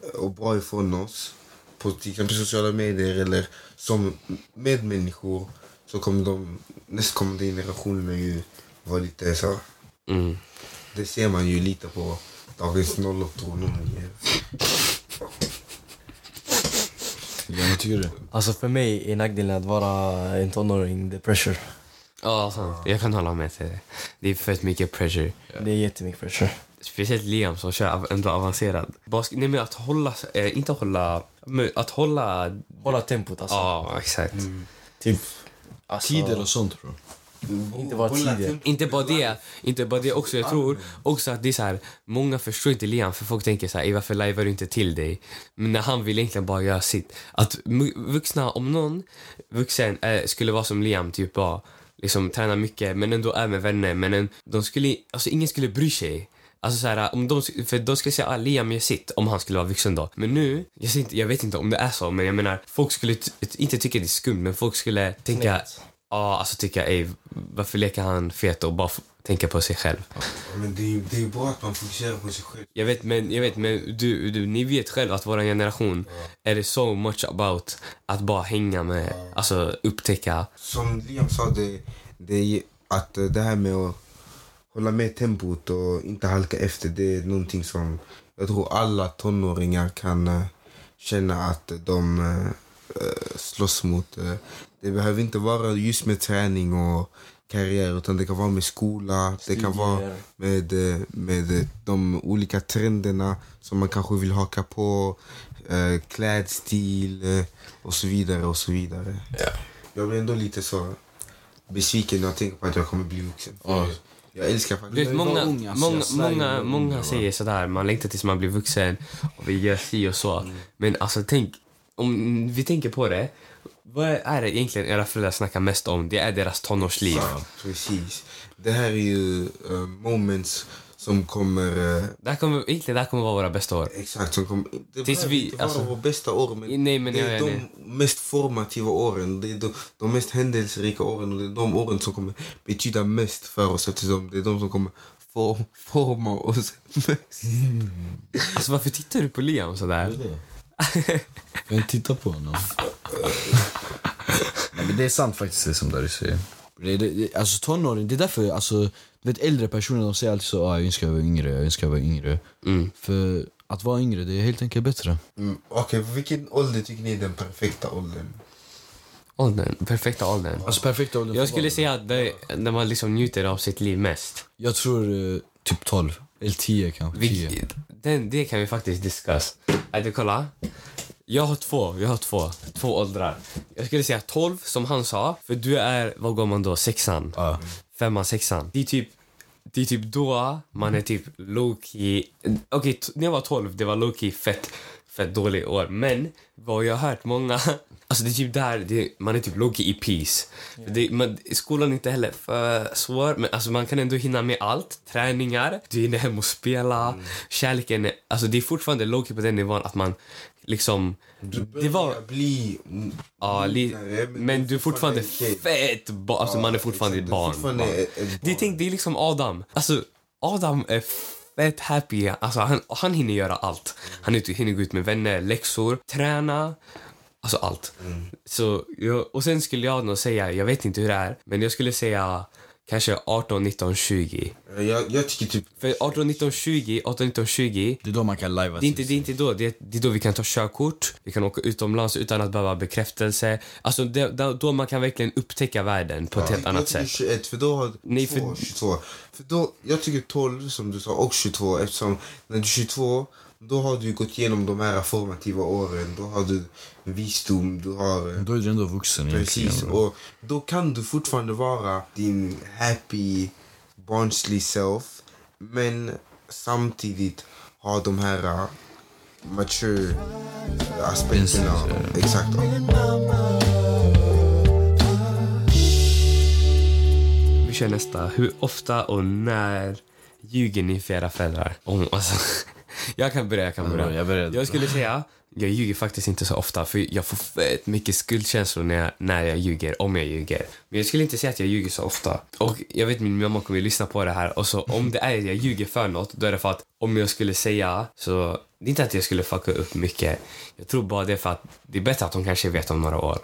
Speaker 4: eh, och bra ifrån oss på till exempel sociala medier eller som medmänniskor så kommer de nästkommande generationerna ju vara lite så.
Speaker 1: Mm.
Speaker 4: Det ser man ju lite på dagens 08-nummer.
Speaker 5: Ja, vad tycker du?
Speaker 6: Alltså för mig är nackdelen att vara en tonåring, det är pressure.
Speaker 1: Ja, sant. Jag kan hålla med till det. Det är fett mycket pressure.
Speaker 6: Det är jättemycket pressure.
Speaker 1: Speciellt Liam som kör av- ändå avancerad. Bask- Nej, men att hålla... Eh, inte hålla... Men att hålla...
Speaker 6: Hålla tempot alltså.
Speaker 1: Ja, exakt.
Speaker 6: Typ. Alltså,
Speaker 5: Tider och sånt bror.
Speaker 6: Inte vara
Speaker 4: Bolla
Speaker 6: tidig.
Speaker 4: tempo.
Speaker 1: Inte bara det, inte bara det också. Jag tror också att det är så här, många förstår inte Liam för folk tänker så här, "Ey, varför lajvar du inte till dig? Men när han vill egentligen bara göra sitt. Att mu- vuxna, om någon vuxen eh, skulle vara som Liam, typ bara liksom träna mycket men ändå är med vänner, men en, de skulle, alltså ingen skulle bry sig. Alltså så här, om de, för de skulle säga ah, Liam gör sitt om han skulle vara vuxen då. Men nu, jag, ser inte, jag vet inte om det är så, men jag menar folk skulle t- inte tycka det är skumt, men folk skulle tänka Ja, alltså tycka ej, varför leker han fet och bara f- tänka på sig själv?
Speaker 4: Men det är ju det är ju bra att man fokuserar på sig själv.
Speaker 1: Jag vet, men, jag vet, men du, du, ni vet själv att vår generation är det so much about att bara hänga med, alltså upptäcka.
Speaker 4: Som Liam sa, det, det är att eh, det här med att hålla med tempot och inte halka efter det är någonting som jag tror alla tonåringar kan eh, känna att de eh, eh, slåss mot. eh. Det behöver inte vara just med träning och karriär utan det kan vara med skola, det kan vara
Speaker 6: Studier.
Speaker 4: med, eh, med eh, de olika trenderna som man kanske vill haka på, eh, klädstil eh, och så vidare och så vidare. Jag blir ändå lite så besviken när jag tänker på att jag kommer bli vuxen.
Speaker 5: Ja.
Speaker 4: Jag älskar faktiskt...
Speaker 1: Du vet,
Speaker 5: var
Speaker 1: många,
Speaker 5: ung, alltså.
Speaker 1: många,
Speaker 5: Jag svär, jag
Speaker 1: många,
Speaker 5: var
Speaker 1: många
Speaker 5: ung, va?
Speaker 1: säger sådär, man längtar tills man blir vuxen och vi gör si och så.
Speaker 5: Mm.
Speaker 1: Men alltså tänk, om vi tänker på det, vad är det egentligen era föräldrar snackar mest om? Det är deras tonårsliv.
Speaker 4: Ja, precis. Det här är ju eh, moments som kommer... eh,
Speaker 1: Det här kommer, egentligen det här kommer vara våra bästa år.
Speaker 4: exakt, som kommer... Det
Speaker 1: Tills
Speaker 4: behöver
Speaker 1: vi-
Speaker 4: inte vara
Speaker 1: alltså-
Speaker 4: våra bästa år, men
Speaker 1: Nej, men
Speaker 4: det
Speaker 1: jag
Speaker 4: är
Speaker 1: är
Speaker 4: de
Speaker 1: det.
Speaker 4: mest formativa åren. Det är de, de mest händelserika åren och det är de åren som kommer betyda mest för oss eftersom det är de som kommer for, forma oss mest.
Speaker 1: Alltså varför tittar du på Liam sådär?
Speaker 5: Men titta på honom. Nej, men det är sant faktiskt det som Dari säger. Det, det, det, alltså tonåring, det är därför alltså, du vet äldre personer de säger alltid så ah, jag önskar jag var yngre, jag önskar jag var yngre. För att vara yngre det är helt enkelt bättre.
Speaker 4: Mm, Okej, vilken ålder tycker ni är den perfekta åldern?
Speaker 1: Åldern, perfekta åldern.
Speaker 5: Alltså perfekta åldern för
Speaker 1: Jag skulle
Speaker 5: barn.
Speaker 1: säga att det är när man liksom njuter av sitt liv mest.
Speaker 5: Jag tror eh, typ 12, eller 10 kanske. 10.
Speaker 1: Vi, den, det kan vi faktiskt discuss. Att vi kolla. Jag har två, jag har två. Två åldrar. Jag skulle säga 12 som han sa. För du är, vad går man då, sexan?
Speaker 5: Ja.
Speaker 1: Femman, sexan. Det är typ det är typ då man är typ low-key... Okej, t- när jag var 12 det var low-key fett, fett dåligt år. Men vad jag har hört många... Alltså det är typ där det, man är typ low-key i peace. För Det, man, skolan är inte heller för svår, men alltså man kan ändå hinna med allt. Träningar, du hinner hem och spela. Kärleken, är- alltså det är fortfarande low-key på den nivån att man liksom... Det var...
Speaker 4: Jag blir... mm,
Speaker 1: Ja, li,
Speaker 4: Nej, men
Speaker 1: men du är fortfarande
Speaker 4: fortfarande en
Speaker 1: fett barn. Alltså man är fortfarande ett
Speaker 4: exakt.
Speaker 1: barn.
Speaker 4: Fortfarande
Speaker 1: Va?
Speaker 4: ett- ett
Speaker 1: Det, är
Speaker 4: barn.
Speaker 1: tänk, det är liksom Adam. Alltså Adam är fett happy. Alltså han, han hinner göra allt. Han hinner hinner gå ut med vänner, läxor, träna. Alltså allt.
Speaker 4: Mm.
Speaker 1: Så, jag, och sen skulle jag nog säga, jag vet inte hur det är, men jag skulle säga kanske 18, 19, 20.
Speaker 4: Jag, jag tycker typ...
Speaker 1: För 18, 19, 20, 18, 19, 20
Speaker 5: Det är då man kan lajva
Speaker 1: det är, inte, det är inte då. Det är, det är då vi kan ta körkort, vi kan åka utomlands utan att behöva bekräftelse. Alltså det, det, då man kan verkligen upptäcka världen på ett helt
Speaker 4: jag
Speaker 1: annat
Speaker 4: tycker
Speaker 1: sätt.
Speaker 4: 21, för då har
Speaker 1: Nej,
Speaker 4: Nej,
Speaker 1: för-
Speaker 4: 2, 22. För då, jag tycker 12 som du sa och 22 eftersom när du är 22 då har du gått igenom de här formativa åren. Då har du visdom, du har... eh,
Speaker 5: Då är du ändå vuxen
Speaker 4: Precis,
Speaker 5: egentligen.
Speaker 4: och då kan du fortfarande vara din happy barnslig self men samtidigt ha de här uh, mature aspekterna. Exakt.
Speaker 1: Vi kör nästa. Hur ofta och när ljuger ni för era föräldrar? Om, alltså, jag kan börja, jag kan börja.
Speaker 5: jag börjar.
Speaker 1: Jag skulle säga, jag ljuger faktiskt inte så ofta för jag får fett mycket skuldkänslor när jag, när jag ljuger, om jag ljuger. Men jag skulle inte säga att jag ljuger så ofta. Och jag vet min mamma kommer ju lyssna på det här och så om det är jag ljuger för något då är det för att om jag skulle säga så, det är inte att jag skulle fucka upp mycket. Jag tror bara det är för att det är bättre att hon kanske vet om några år.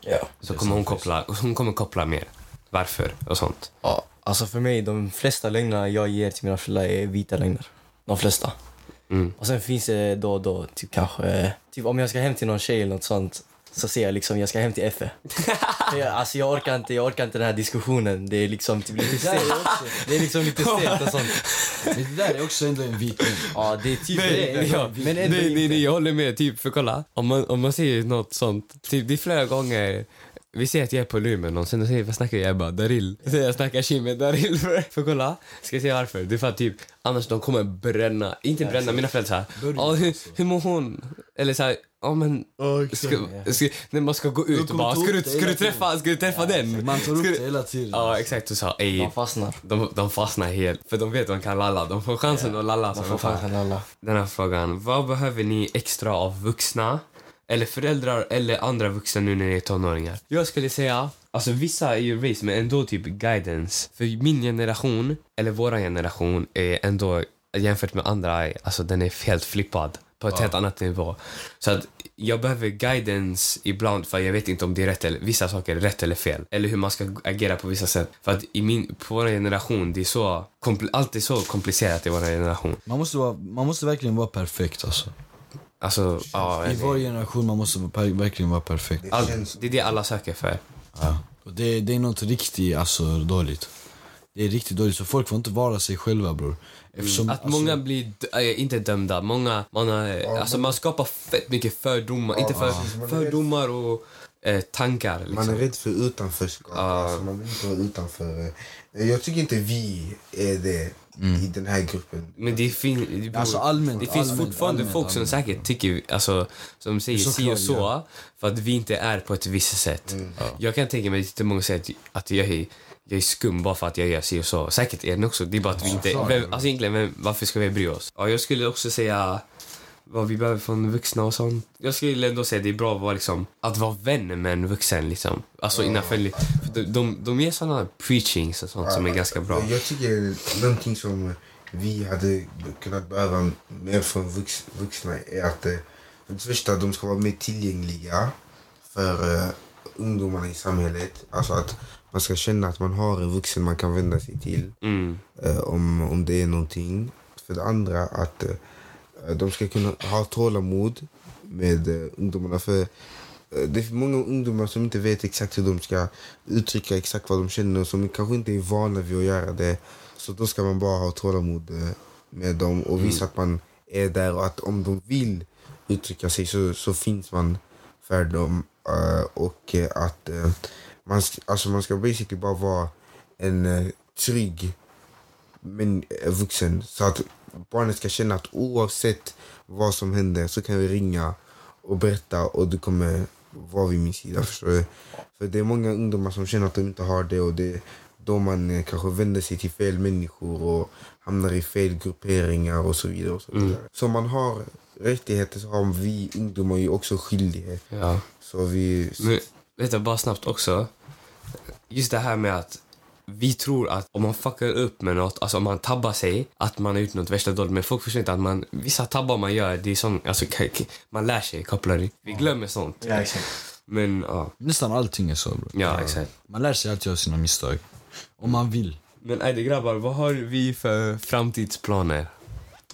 Speaker 6: Ja.
Speaker 1: Så kommer hon koppla, hon kommer koppla mer. Varför och sånt.
Speaker 6: ja. Alltså för mig, de flesta lögnerna jag ger till mina föräldrar är vita lögner. De flesta.
Speaker 1: Mm.
Speaker 6: Och sen finns det då och då, typ kanske... Typ om jag ska hem till någon tjej eller något sånt så säger jag liksom jag ska hem till Effe. Men jag- alltså jag orkar inte, jag orkar inte den här diskussionen. Det är liksom typ lite stelt. Det är liksom lite stelt och sånt.
Speaker 5: Men det där är också ändå en vit lögn.
Speaker 6: Ja, det är typ det.
Speaker 1: Nej,
Speaker 6: är-
Speaker 1: ja,
Speaker 6: men ändå
Speaker 1: nej, nej,
Speaker 6: inte.
Speaker 1: nej, jag håller med. Typ, för kolla, om man, om man säger något sånt, typ, det är flera gånger Vi säger att jag är på lur med någon, sen säger jag, vad snackar jag? Jag bara, Daril. Så jag snackar shit med Daril för, för kolla. Ska jag säga varför? Det är för att typ, annars de kommer bränna, inte bränna, mina föräldrar såhär, ja hur, hur mår hon? Eller såhär, ja men, ska, ska, när man ska gå ut och
Speaker 5: kommer
Speaker 1: bara,
Speaker 5: ta
Speaker 1: ska du,
Speaker 5: upp det
Speaker 1: ska du
Speaker 5: hela
Speaker 1: träffa, ska du träffa den?
Speaker 5: Man tar upp
Speaker 1: Ska du-
Speaker 5: det hela tiden.
Speaker 1: Ja exakt, och så, ej,
Speaker 6: Man fastnar.
Speaker 1: de, de fastnar helt, för de vet att de kan lalla, de får chansen att lalla. så
Speaker 6: Man
Speaker 1: de
Speaker 6: får
Speaker 1: bara-
Speaker 6: chansen alla.
Speaker 1: den här frågan. Vad behöver ni extra av vuxna? Eller föräldrar eller andra vuxna nu när ni är tonåringar? Jag skulle säga, alltså vissa är ju race men ändå typ guidance. För min generation, eller våra generation, är ändå jämfört med andra, alltså den är helt flippad på ett helt annat nivå. Så att jag behöver guidance ibland för jag vet inte om det är rätt eller vissa saker är rätt eller fel. Eller hur man ska agera på vissa sätt. För att i min, på vår generation, det är så, kompl- allt är så komplicerat i vår generation.
Speaker 5: Man måste, vara, man måste verkligen vara perfekt alltså.
Speaker 1: Alltså, ja.
Speaker 5: I
Speaker 1: eller-
Speaker 5: vår generation man måste vara per, verkligen vara perfekt.
Speaker 1: all, det är det alla söker för.
Speaker 5: Ja. Och det, det är något riktigt alltså, dåligt. Det är riktigt dåligt, så folk får inte vara sig själva bror. Eftersom,
Speaker 1: Mm.
Speaker 5: alltså,
Speaker 1: Att många
Speaker 4: alltså-
Speaker 1: blir, d- äh, inte dömda, många, man, har, alltså, man skapar fett mycket fördomar, inte för,
Speaker 4: Man är
Speaker 1: fördomar och eh, tankar.
Speaker 4: Man är
Speaker 1: Liksom.
Speaker 4: rädd för utanförskap. Alltså, man vill inte vara utanför. Eh, Jag tycker inte vi är det i den här gruppen.
Speaker 1: Mm. Men det, fin- det, beror-
Speaker 5: Alltså, allmänt,
Speaker 1: det finns
Speaker 5: allmänt,
Speaker 1: fortfarande
Speaker 5: allmänt,
Speaker 1: folk som
Speaker 5: allmänt.
Speaker 1: säkert tycker, alltså, som säger
Speaker 5: Så
Speaker 1: si och så
Speaker 5: klart,
Speaker 1: för att vi inte är på ett visst sätt.
Speaker 5: Mm.
Speaker 1: Jag kan tänka mig att många säger att, att jag, är, jag är skum bara för att jag gör si och så. Säkert är det också, det är bara att vi inte, vem, alltså egentligen vem, varför ska vi bry oss? Ja, jag skulle också säga vad vi behöver från vuxna och sånt. Jag skulle ändå säga att det är bra att vara, liksom, att vara vän med en vuxen. Liksom. Alltså innanför, för de, de, de ger såna preachings och sånt som är ganska bra.
Speaker 4: Jag tycker någonting som vi hade kunnat behöva mer från vux, vuxna är att eh, för det första de ska vara mer tillgängliga för eh, ungdomarna i samhället. Alltså att man ska känna att man har en vuxen man kan vända sig till
Speaker 1: Mm.
Speaker 4: eh, om, om det är någonting. För det andra att eh, de ska kunna ha tålamod med eh, ungdomarna. För eh, det är många ungdomar som inte vet exakt hur de ska uttrycka exakt vad de känner och som kanske inte är vana vid att göra det. Så då ska man bara ha tålamod eh, med dem och visa att man är där och att om de vill uttrycka sig så, så finns man för dem. eh, och eh, att eh, man, sk- alltså man ska basically bara vara en eh, trygg men är vuxen. Så att barnet ska känna att oavsett vad som händer så kan vi ringa och berätta och du kommer vara vid min sida. Förstår du? För det är många ungdomar som känner att de inte har det och det är då man eh, kanske vänder sig till fel människor och hamnar i fel grupperingar och så vidare. Och så vidare. Som man har rättigheter så har vi ungdomar ju också skyldighet.
Speaker 1: Ja.
Speaker 4: Så vi...
Speaker 1: Men, vet du, bara snabbt också. Just det här med att vi tror att om man fuckar upp med något, alltså om man tabbar sig, att man har gjort något värsta dåligt. Men folk förstår inte att man, vissa tabbar man gör, det är sån, alltså, k- k- man lär sig, kopplar det. Vi glömmer sånt.
Speaker 6: Ja, exakt.
Speaker 1: Men ja,
Speaker 5: Nästan allting är så bror.
Speaker 1: ja exakt.
Speaker 5: Man lär sig alltid av sina misstag. Om man vill.
Speaker 1: Men ejde grabbar, vad har vi för framtidsplaner?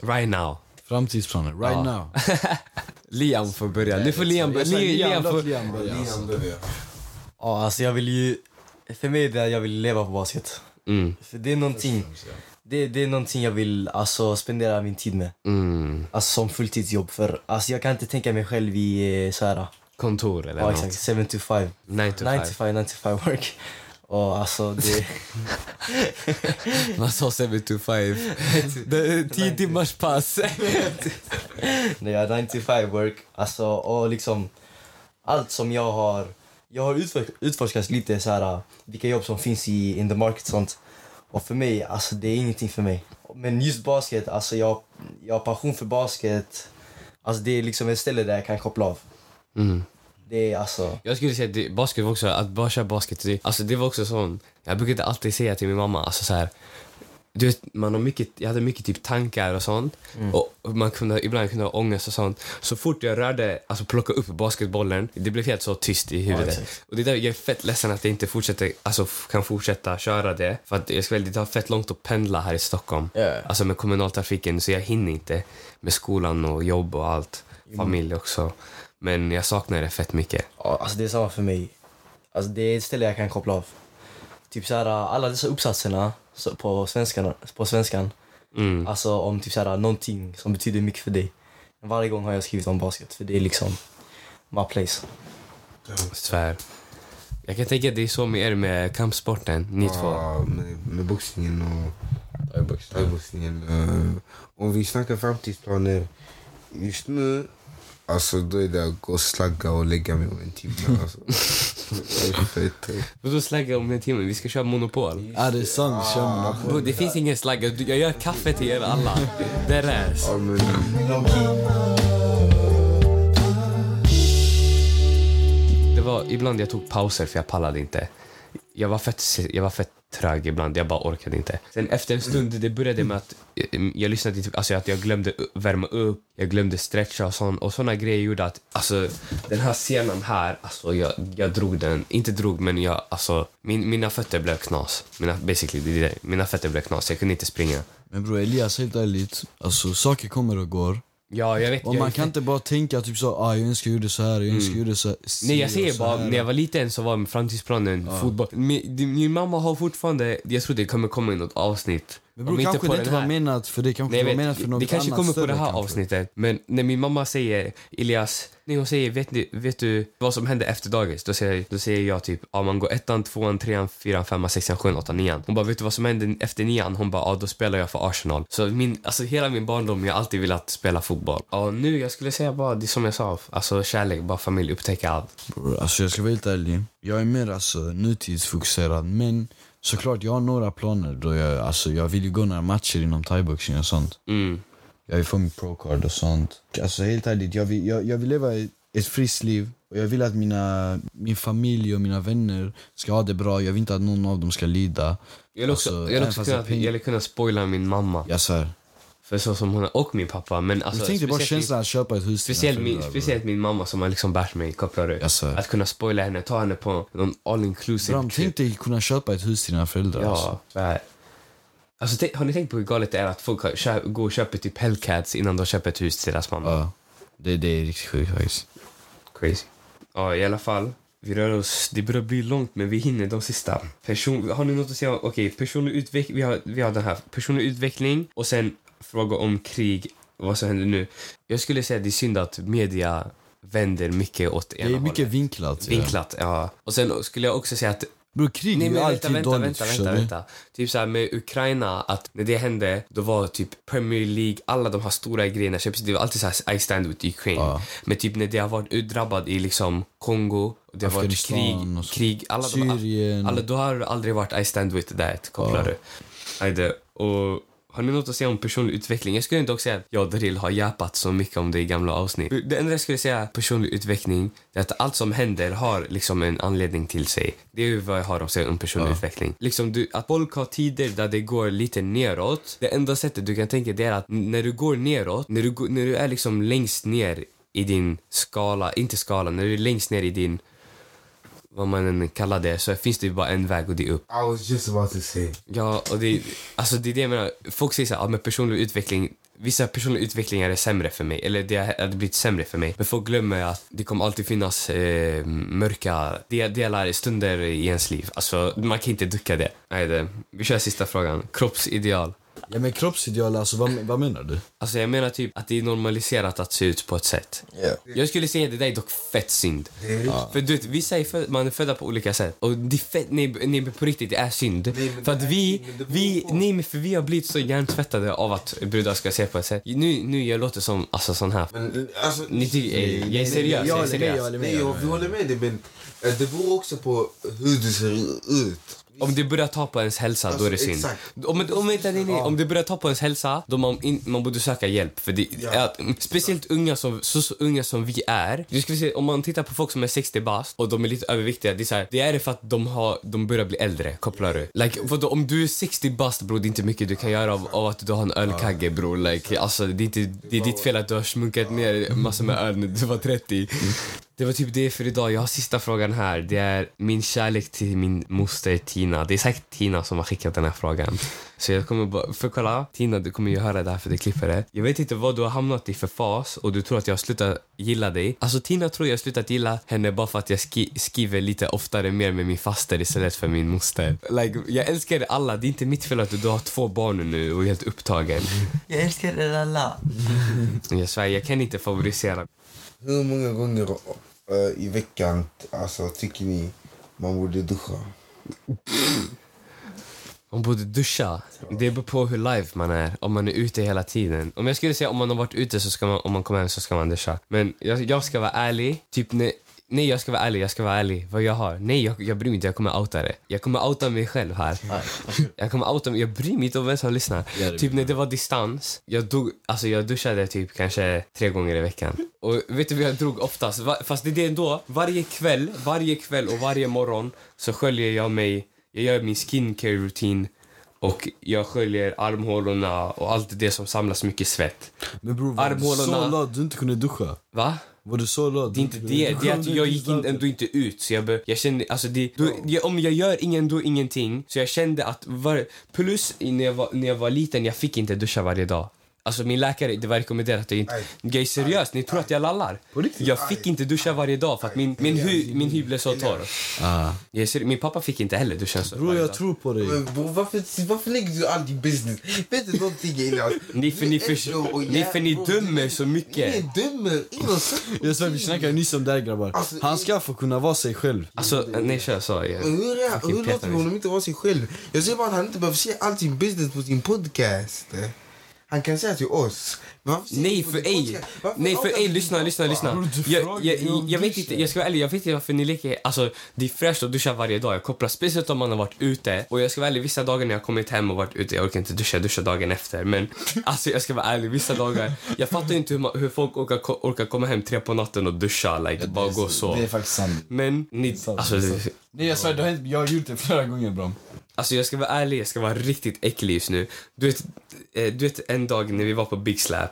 Speaker 1: Right now.
Speaker 5: Framtidsplaner, right
Speaker 1: Ja.
Speaker 5: now.
Speaker 1: Liam får börja. Nu får Liam börja.
Speaker 5: Jag säger
Speaker 1: Liam, Liam
Speaker 5: låt
Speaker 1: får...
Speaker 5: Liam börja. alltså.
Speaker 6: Ja, alltså jag vill ju... För mig är det att jag vill leva på basket.
Speaker 1: Mm,
Speaker 6: För det är någonting, det, det är någonting jag vill alltså, spendera min tid med.
Speaker 1: mm.
Speaker 6: Alltså som fulltidsjobb. För alltså, jag kan inte tänka mig själv i eh, så här,
Speaker 1: Kontor eller
Speaker 6: ja,
Speaker 1: något.
Speaker 6: exakt, 7 to 5.
Speaker 1: Nine to
Speaker 6: 9
Speaker 1: five.
Speaker 6: to 5, 9 to 5 work. Och alltså det...
Speaker 1: Man sa 7 to 5. Det är 10 timmars pass.
Speaker 6: när jag är 9 to 5 work. Alltså och liksom allt som jag har... Jag har utforsk, utforskat lite så här, vilka jobb som finns i in the market sånt. Och för mig, alltså det är ingenting för mig. Men just basket, alltså jag, jag har passion för basket. Alltså det är liksom ett ställe där jag kan koppla av. Mm. Det är alltså...
Speaker 1: Jag skulle säga att det, basket var också, att bara köra basket, det, alltså det var också sån, jag brukade alltid säga till min mamma, alltså så här, du vet, man har mycket, jag hade mycket typ tankar och sånt och man kunde, ibland kunde jag ha ångest och sånt. Så fort jag rörde, alltså plockade upp basketbollen, det blev helt så tyst i huvudet. och det där, jag är fett ledsen att jag inte fortsätter, alltså, f- kan fortsätta köra det. För att jag ska, väl- det tar fett långt att pendla här i Stockholm,
Speaker 6: Ja.
Speaker 1: alltså med kommunaltrafiken, så jag hinner inte med skolan och jobb och allt, familj också. Men jag saknar det fett mycket.
Speaker 6: Ja, alltså det är samma för mig. Alltså det är ett ställe jag kan koppla av. Typ så här, alla dessa uppsatserna så- på, svenskarna, på svenskan.
Speaker 1: Mm.
Speaker 6: Alltså om typ så här, någonting som betyder mycket för dig. Varje gång har jag skrivit om basket för det är liksom my place.
Speaker 1: Svär. Jag kan tänka att det är så med er med kampsporten, ni två.
Speaker 4: Ja, med, med boxningen och thaiboxningen. eh, om vi snackar framtidsplaner just nu, alltså då är det att gå och slagga och lägga mig om en timme. Alltså. Jag är fett trött.
Speaker 1: Vadå slagga om en timme? Vi ska köra Monopol.
Speaker 5: Ja, det är sant. Kör man
Speaker 1: Bro, det finns ingen slagga. Du- Jag gör kaffe till er alla. Det är
Speaker 4: ja, men,
Speaker 1: Det var ibland jag tog pauser för jag pallade inte. Jag var fett, jag var fett trög ibland, jag bara orkade inte. Sen efter en stund, det började med att eh, jag lyssnade till, alltså att jag glömde u- värma upp, jag glömde stretcha och sånt. Och såna grejer gjorde att, alltså den här senan här, alltså jag, jag drog den, inte drog men jag, alltså min, mina fötter blev knas. Mina, basically, det är det. mina fötter blev knas, jag kunde inte springa.
Speaker 5: Men bror Elias, helt ärligt. Alltså saker kommer och går.
Speaker 1: Ja, jag vet.
Speaker 5: Och
Speaker 1: jag,
Speaker 5: man kan inte bara tänka typ så, ah, jag önskar jag gjorde så här, jag önskar jag gjorde så här.
Speaker 1: Mm. Nej jag
Speaker 5: si
Speaker 1: säger
Speaker 5: och så
Speaker 1: bara,
Speaker 5: här.
Speaker 1: när jag var liten så var framtidsplanen fotboll. Min, din- min mamma har fortfarande, jag tror det kommer komma i något avsnitt.
Speaker 5: Men
Speaker 1: Om
Speaker 5: bror,
Speaker 1: inte
Speaker 5: kanske
Speaker 1: på
Speaker 5: det
Speaker 1: den
Speaker 5: inte var
Speaker 1: här.
Speaker 5: menat för det, kanske
Speaker 1: Nej,
Speaker 5: det var
Speaker 1: jag
Speaker 5: menat för
Speaker 1: vet,
Speaker 5: något
Speaker 1: det kanske
Speaker 5: annat
Speaker 1: kommer på
Speaker 5: större,
Speaker 1: det här
Speaker 5: kanske.
Speaker 1: avsnittet. Men när min mamma säger Elias, när hon säger vet, ni, vet du vad som hände efter dagis? Då säger, då säger jag typ ja man går ettan, tvåan, trean, fyran, femman, sexan, sjuan, åttan, nian. Hon bara vet du vad som hände efter nian? Hon bara ja då spelar jag för Arsenal. Så min, alltså hela min barndom jag har alltid velat spela fotboll. Ja nu jag skulle säga bara det som jag sa, alltså kärlek, bara familj, upptäcka allt.
Speaker 5: Bror, alltså jag ska vara helt ärlig. Jag är mer alltså nutidsfokuserad men såklart jag har några planer då jag, alltså jag vill ju gå några matcher inom thaiboxning och sånt.
Speaker 1: Mm.
Speaker 5: Jag vill få min procard och sånt. Alltså helt ärligt, jag vill, jag, jag vill leva ett- ett friskt liv. Och jag vill att mina, min familj och mina vänner ska ha det bra. Jag vill inte att någon av dem ska lida.
Speaker 1: Jag vill också,
Speaker 5: Alltså,
Speaker 1: jag vill
Speaker 5: även
Speaker 1: också
Speaker 5: fast det
Speaker 1: kunna,
Speaker 5: är
Speaker 1: jag vill kunna spoila min mamma.
Speaker 5: Jag svär.
Speaker 1: För så som hon är, och min pappa. Men alltså,
Speaker 5: Alltså, Tänk dig bara
Speaker 1: speciellt min-
Speaker 5: känslan att köpa ett hus till
Speaker 1: Speciellt
Speaker 5: dina
Speaker 1: min,
Speaker 5: föräldrar,
Speaker 1: speciellt min mamma som har liksom bärt mig, kopplar du?
Speaker 5: Jag svär.
Speaker 1: Att kunna spoila henne, ta henne på någon all inclusive
Speaker 5: bror. Bram, tänk dig kunna köpa ett hus till dina föräldrar. Alltså.
Speaker 1: typ. Ja, så här. Alltså, tänk, har ni tänkt på hur galet det är att folk har, kö, går och köper typ Hellcats innan de köper ett hus till deras mamma?
Speaker 5: Ja. Det, det är riktigt sjukt faktiskt.
Speaker 1: Crazy. Ja, i alla fall. Vi rör oss, det börjar bli långt men vi hinner de sista. Person, har ni något att säga? Okej, personlig utveckling, vi har, vi har den här. Personlig utveckling och sen fråga om krig, vad som händer nu. Jag skulle säga att det är synd att media vänder mycket åt ena
Speaker 5: Det är mycket
Speaker 1: hållet.
Speaker 5: vinklat. ja.
Speaker 1: Vinklat, ja. Och sen skulle jag också säga att...
Speaker 5: Bror krig
Speaker 1: Nej
Speaker 5: är
Speaker 1: men
Speaker 5: ju
Speaker 1: vänta,
Speaker 5: alltid
Speaker 1: vänta,
Speaker 5: dåligt
Speaker 1: vänta,
Speaker 5: förstår
Speaker 1: vänta,
Speaker 5: du?
Speaker 1: vänta. Typ såhär med Ukraina, att när det hände då var typ Premier League, alla de här stora grejerna, Champions League, det var alltid såhär I stand with Ukraine.
Speaker 5: Ja.
Speaker 1: Men typ när det har varit drabbad i liksom Kongo, och det har varit krig,
Speaker 5: Afghanistan och så.
Speaker 1: krig, alla
Speaker 5: Syrien.
Speaker 1: de... Alla, då Alltså, har det aldrig varit I stand with that, kopplar du? Ajde. Och har ni något att säga om personlig utveckling? Jag skulle inte också säga att jag och Daryl har jappat så mycket om det i gamla avsnitt. Det enda jag skulle säga personlig utveckling det är att allt som händer har liksom en anledning till sig. Det är ju vad jag har att säga om personlig utveckling. Liksom du, att folk har tider där det går lite neråt. Det enda sättet du kan tänka det är att n- när du går neråt, när du, går- när du är liksom längst ner i din skala, inte skala, när du är längst ner i din vad man än kallar det, så finns det ju bara en väg och det är upp.
Speaker 4: I was just about to say.
Speaker 1: Ja, och det, alltså det är det jag menar. Folk säger så här, ja, men personlig utveckling, vissa personliga utvecklingar är sämre för mig, eller det har- hade blivit sämre för mig. Men folk glömmer att det kommer alltid finnas eh, mörka de- delar, stunder i ens liv. Alltså, man kan inte ducka det. Nej, det. Vi kör sista frågan. Kroppsideal.
Speaker 5: Ja men kroppsideal, alltså vad, vad menar du?
Speaker 1: Alltså jag menar typ att det är normaliserat att se ut på ett sätt. Jag skulle säga det där är dock fett synd.
Speaker 4: Det är
Speaker 1: För du vet, vissa är föd- man är födda på olika sätt. Och det är fett, nej, nej men på riktigt, det är synd. för att vi, vi, nej men för vi har blivit så hjärntvättade av att brudar ska se på ett sätt. Nu, nu jag låter som, alltså sån här.
Speaker 4: Men alltså...
Speaker 1: Ni tycker, eh, jag är seriös, jag är seriös.
Speaker 4: Nej, jag, vi håller med dig men eh, det beror också på hur du ser ut.
Speaker 1: Om det börjar ta på ens hälsa, då är det
Speaker 4: Alltså,
Speaker 1: synd.
Speaker 4: exakt.
Speaker 1: Om, om, inte, nej, nej, om det börjar ta på ens hälsa, då man, in, man borde söka hjälp. För det,
Speaker 4: Ja.
Speaker 1: är att, speciellt unga som, så, så unga som vi är. Du ska se, om man tittar på folk som är 60 bast och de är lite överviktiga, det är, så här, det är det för att de, har, de börjar bli äldre. Kopplar du? Like, vadå, om du är 60 bast, bror, det är inte mycket du kan göra av, av att du har en ölkagge, bror. Like, alltså, det, är inte, det är ditt fel att du har smunkat ner massor med öl när du var 30.
Speaker 4: Mm.
Speaker 1: Det var typ det för idag. Jag har sista frågan här. Det är min kärlek till min moster Tina. Det är säkert Tina som har skickat den här frågan. Så jag kommer bara, för kolla. Tina, du kommer ju höra det här för du klipper det. Jag vet inte vad du har hamnat i för fas och du tror att jag har slutat gilla dig. Alltså Tina tror jag har slutat gilla henne bara för att jag skri- skriver lite oftare mer med min faster istället för min moster. Like, jag älskar er alla. Det är inte mitt fel att du har två barn nu och är helt upptagen.
Speaker 6: Jag älskar er alla.
Speaker 1: Jag svär, jag kan inte favorisera.
Speaker 4: Hur många gånger eh, i veckan alltså, tycker ni Man borde duscha.
Speaker 1: Man borde duscha. Det beror på hur live man är, om man är ute hela tiden. Om jag skulle säga om man har varit ute så ska man, om man kommer hem så ska man duscha. Men jag, jag ska vara ärlig, typ när Nej, jag ska vara ärlig. Jag ska vara ärlig. Vad jag har. Nej, jag, jag bryr mig inte. Jag kommer outa det. Jag kommer outa mig själv här. Jag kommer outa mig. Jag bryr mig inte om vem som lyssnar.
Speaker 5: Ja, det
Speaker 1: Typ när det var distans. Jag, dog, alltså jag duschade typ kanske tre gånger i veckan. Och vet du vad jag drog oftast? Va- Fast det är det ändå. Varje kväll, varje kväll och varje morgon så sköljer jag mig. Jag gör min skincare-rutin och jag sköljer armhålorna och allt det som samlas mycket svett.
Speaker 5: Men bror, var du
Speaker 1: Armhålorna.
Speaker 5: så lat du inte kunde duscha?
Speaker 1: Va?
Speaker 5: Var du så lat?
Speaker 1: Det är inte det. Det är att jag gick in, ändå inte ut. Så jag, be, jag kände, alltså det, då, jag, om jag gör ingen, då ingenting. Så jag kände att, var, plus i- när jag, var, när jag var liten, jag fick inte duscha varje dag. Alltså min läkare, det var rekommenderat att jag inte... Grej seriöst, ni tror att jag lallar? Jag fick inte duscha varje dag för att min, min, hy, min hy blev så torr.
Speaker 5: Ah.
Speaker 1: Jag är seri- min pappa fick inte heller duscha så
Speaker 5: Bror
Speaker 1: varje
Speaker 5: jag
Speaker 1: dag.
Speaker 5: tror på dig.
Speaker 4: Men bror, varför, varför lägger du all din business? Vet du någonting Elias?
Speaker 1: Ni för ni, för,
Speaker 4: Jo, och
Speaker 1: ni, för ni
Speaker 4: jä-
Speaker 1: dömer så mycket.
Speaker 4: Ingen dömer. Ingen säger
Speaker 5: Jag svär vi snackade nyss om det här grabbar.
Speaker 4: Alltså,
Speaker 5: Han ska få kunna vara sig själv.
Speaker 1: Alltså, nej kör så. Jag,
Speaker 4: Men Hur, är,
Speaker 1: fucking alltså.
Speaker 4: hur
Speaker 1: petar
Speaker 4: låter vi
Speaker 1: mig.
Speaker 4: honom inte vara sig själv? Jag säger bara att han inte behöver säga all sin business på sin podcast. Han kan säga till oss. Men varför säger
Speaker 1: Nej
Speaker 4: han på
Speaker 1: för
Speaker 4: din
Speaker 1: ej,
Speaker 4: podcast? Varför
Speaker 1: nej för
Speaker 4: outar
Speaker 1: ej,
Speaker 4: du
Speaker 1: lyssna,
Speaker 4: din
Speaker 1: lyssna,
Speaker 4: pappa?
Speaker 1: lyssna.
Speaker 5: Bror, du
Speaker 1: Jag,
Speaker 5: frågar
Speaker 1: jag,
Speaker 5: ju om
Speaker 1: jag vet
Speaker 5: duschen.
Speaker 1: inte, jag ska vara ärlig, jag vet inte varför ni leker, alltså det är fräscht att duscha varje dag, jag kopplar speciellt om man har varit ute och jag ska vara ärlig, vissa dagar när jag kommit hem och varit ute, jag orkar inte duscha, jag duschar dagen efter men alltså jag ska vara ärlig, vissa dagar, jag fattar inte hur, man, hur folk orkar, ko- orkar komma hem tre på natten och duscha, like bara gå så.
Speaker 5: Det är faktiskt sant.
Speaker 1: Men ni,
Speaker 5: sant,
Speaker 1: alltså,
Speaker 5: det är
Speaker 1: det-
Speaker 5: sant. Nej jag svär, det har hänt- jag har gjort det flera gånger bram.
Speaker 1: alltså jag ska vara ärlig, jag ska vara riktigt äcklig just nu. Du vet, eh, du vet en dag när vi var på Big Slap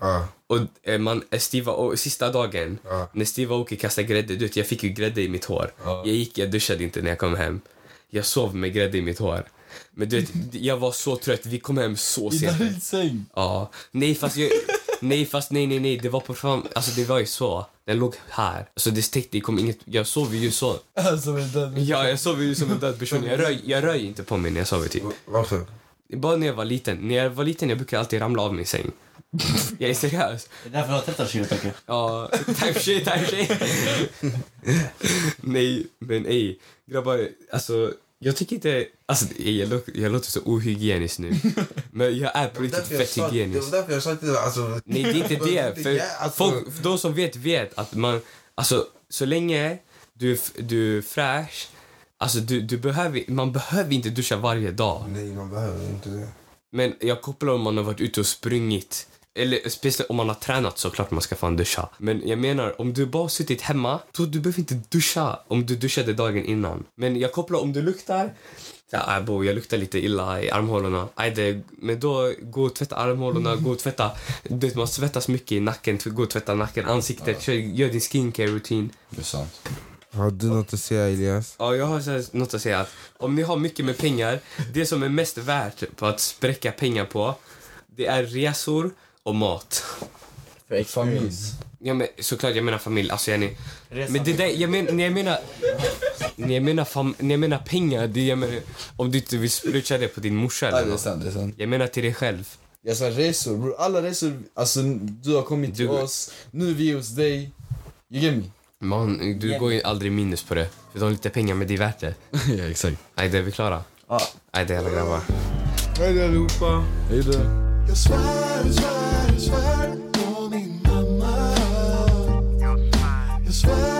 Speaker 4: Ja,
Speaker 1: Och eh, man, eh, Steve, och, sista dagen,
Speaker 4: Ja.
Speaker 1: när Steve Aoki kastade grädde, du vet, jag fick ju grädde i mitt hår. Jag gick, jag duschade inte när jag kom hem. Jag sov med grädde i mitt hår. Men du vet, jag var så trött, vi kom hem så
Speaker 5: I
Speaker 1: sent.
Speaker 5: din säng.
Speaker 1: Ja. Nej fast jag, nej fast nej nej nej, det var på fram, alltså det var ju så. Den låg här. Alltså det täckte, det kom inget, jag sov ju så.
Speaker 5: Alltså vänta.
Speaker 1: Ja, jag sov ju som en död person. Jag röj, jag röj inte på mig när jag sover typ.
Speaker 4: varför?
Speaker 1: Bara när jag var liten. När jag var liten jag brukade alltid ramla av min säng. Jag är seriös.
Speaker 6: Det är därför du har tetrasyra, Pekka.
Speaker 1: Ja, type shit, type shit. Nej, men ej. Grabbar, alltså jag tycker inte... Alltså ej, jag, låter, jag låter så ohygienisk nu. Men jag är på riktigt
Speaker 4: Därför jag
Speaker 1: fett
Speaker 4: sa- Det var
Speaker 1: hygienisk.
Speaker 4: därför jag sa till dig. Alltså,
Speaker 1: Nej, det är inte det. För
Speaker 4: Ja, alltså-
Speaker 1: folk, de som vet, vet att man... Alltså, så länge du, är f- du är fräsch, alltså du, du behöver, man behöver inte duscha varje dag.
Speaker 4: nej, man behöver inte det.
Speaker 1: Men jag kopplar om man har varit ute och sprungit. Eller speciellt om man har tränat så klart man ska fan duscha. Men jag menar om du bara suttit hemma, då du behöver inte duscha om du duschade dagen innan. Men jag kopplar om du luktar, så här, "Aj, bo, jag luktar lite illa i armhålorna. Aj, det, men då gå och tvätta armhålorna, gå och tvätta, du vet man svettas mycket i nacken, gå och tvätta nacken, ansiktet, kör, gör din skincare-rutin.
Speaker 5: Det är sant.
Speaker 4: Har du något att säga Elias?
Speaker 1: Ja, jag har så här något att säga. Att om ni har mycket med pengar, det som är mest värt på att spräcka pengar på, det är resor och mat.
Speaker 6: För experience.
Speaker 1: Ja, men såklart, jag menar familj. Alltså, jag, ni, men det där, jag men, när jag menar... När jag menar, fam, när jag menar pengar, det jag menar, om du inte vill spruta det på din morsa eller något.
Speaker 5: sant, det är sant.
Speaker 1: Jag menar till dig själv.
Speaker 5: Jag sa resor bror, alla resor, alltså du har kommit till
Speaker 1: Du-
Speaker 5: oss, nu är vi hos dig. You get me?
Speaker 1: Man, du går ju aldrig minus på det. För de har lite pengar, men det är värt det.
Speaker 5: ja exakt.
Speaker 1: Nej, det är vi klara?
Speaker 6: Ja.
Speaker 1: Nej, det är alla grabbar.
Speaker 4: Hej allihopa!
Speaker 5: Hejdå.
Speaker 3: Jag svär, jag svär, jag svär på min mamma. Jag svär,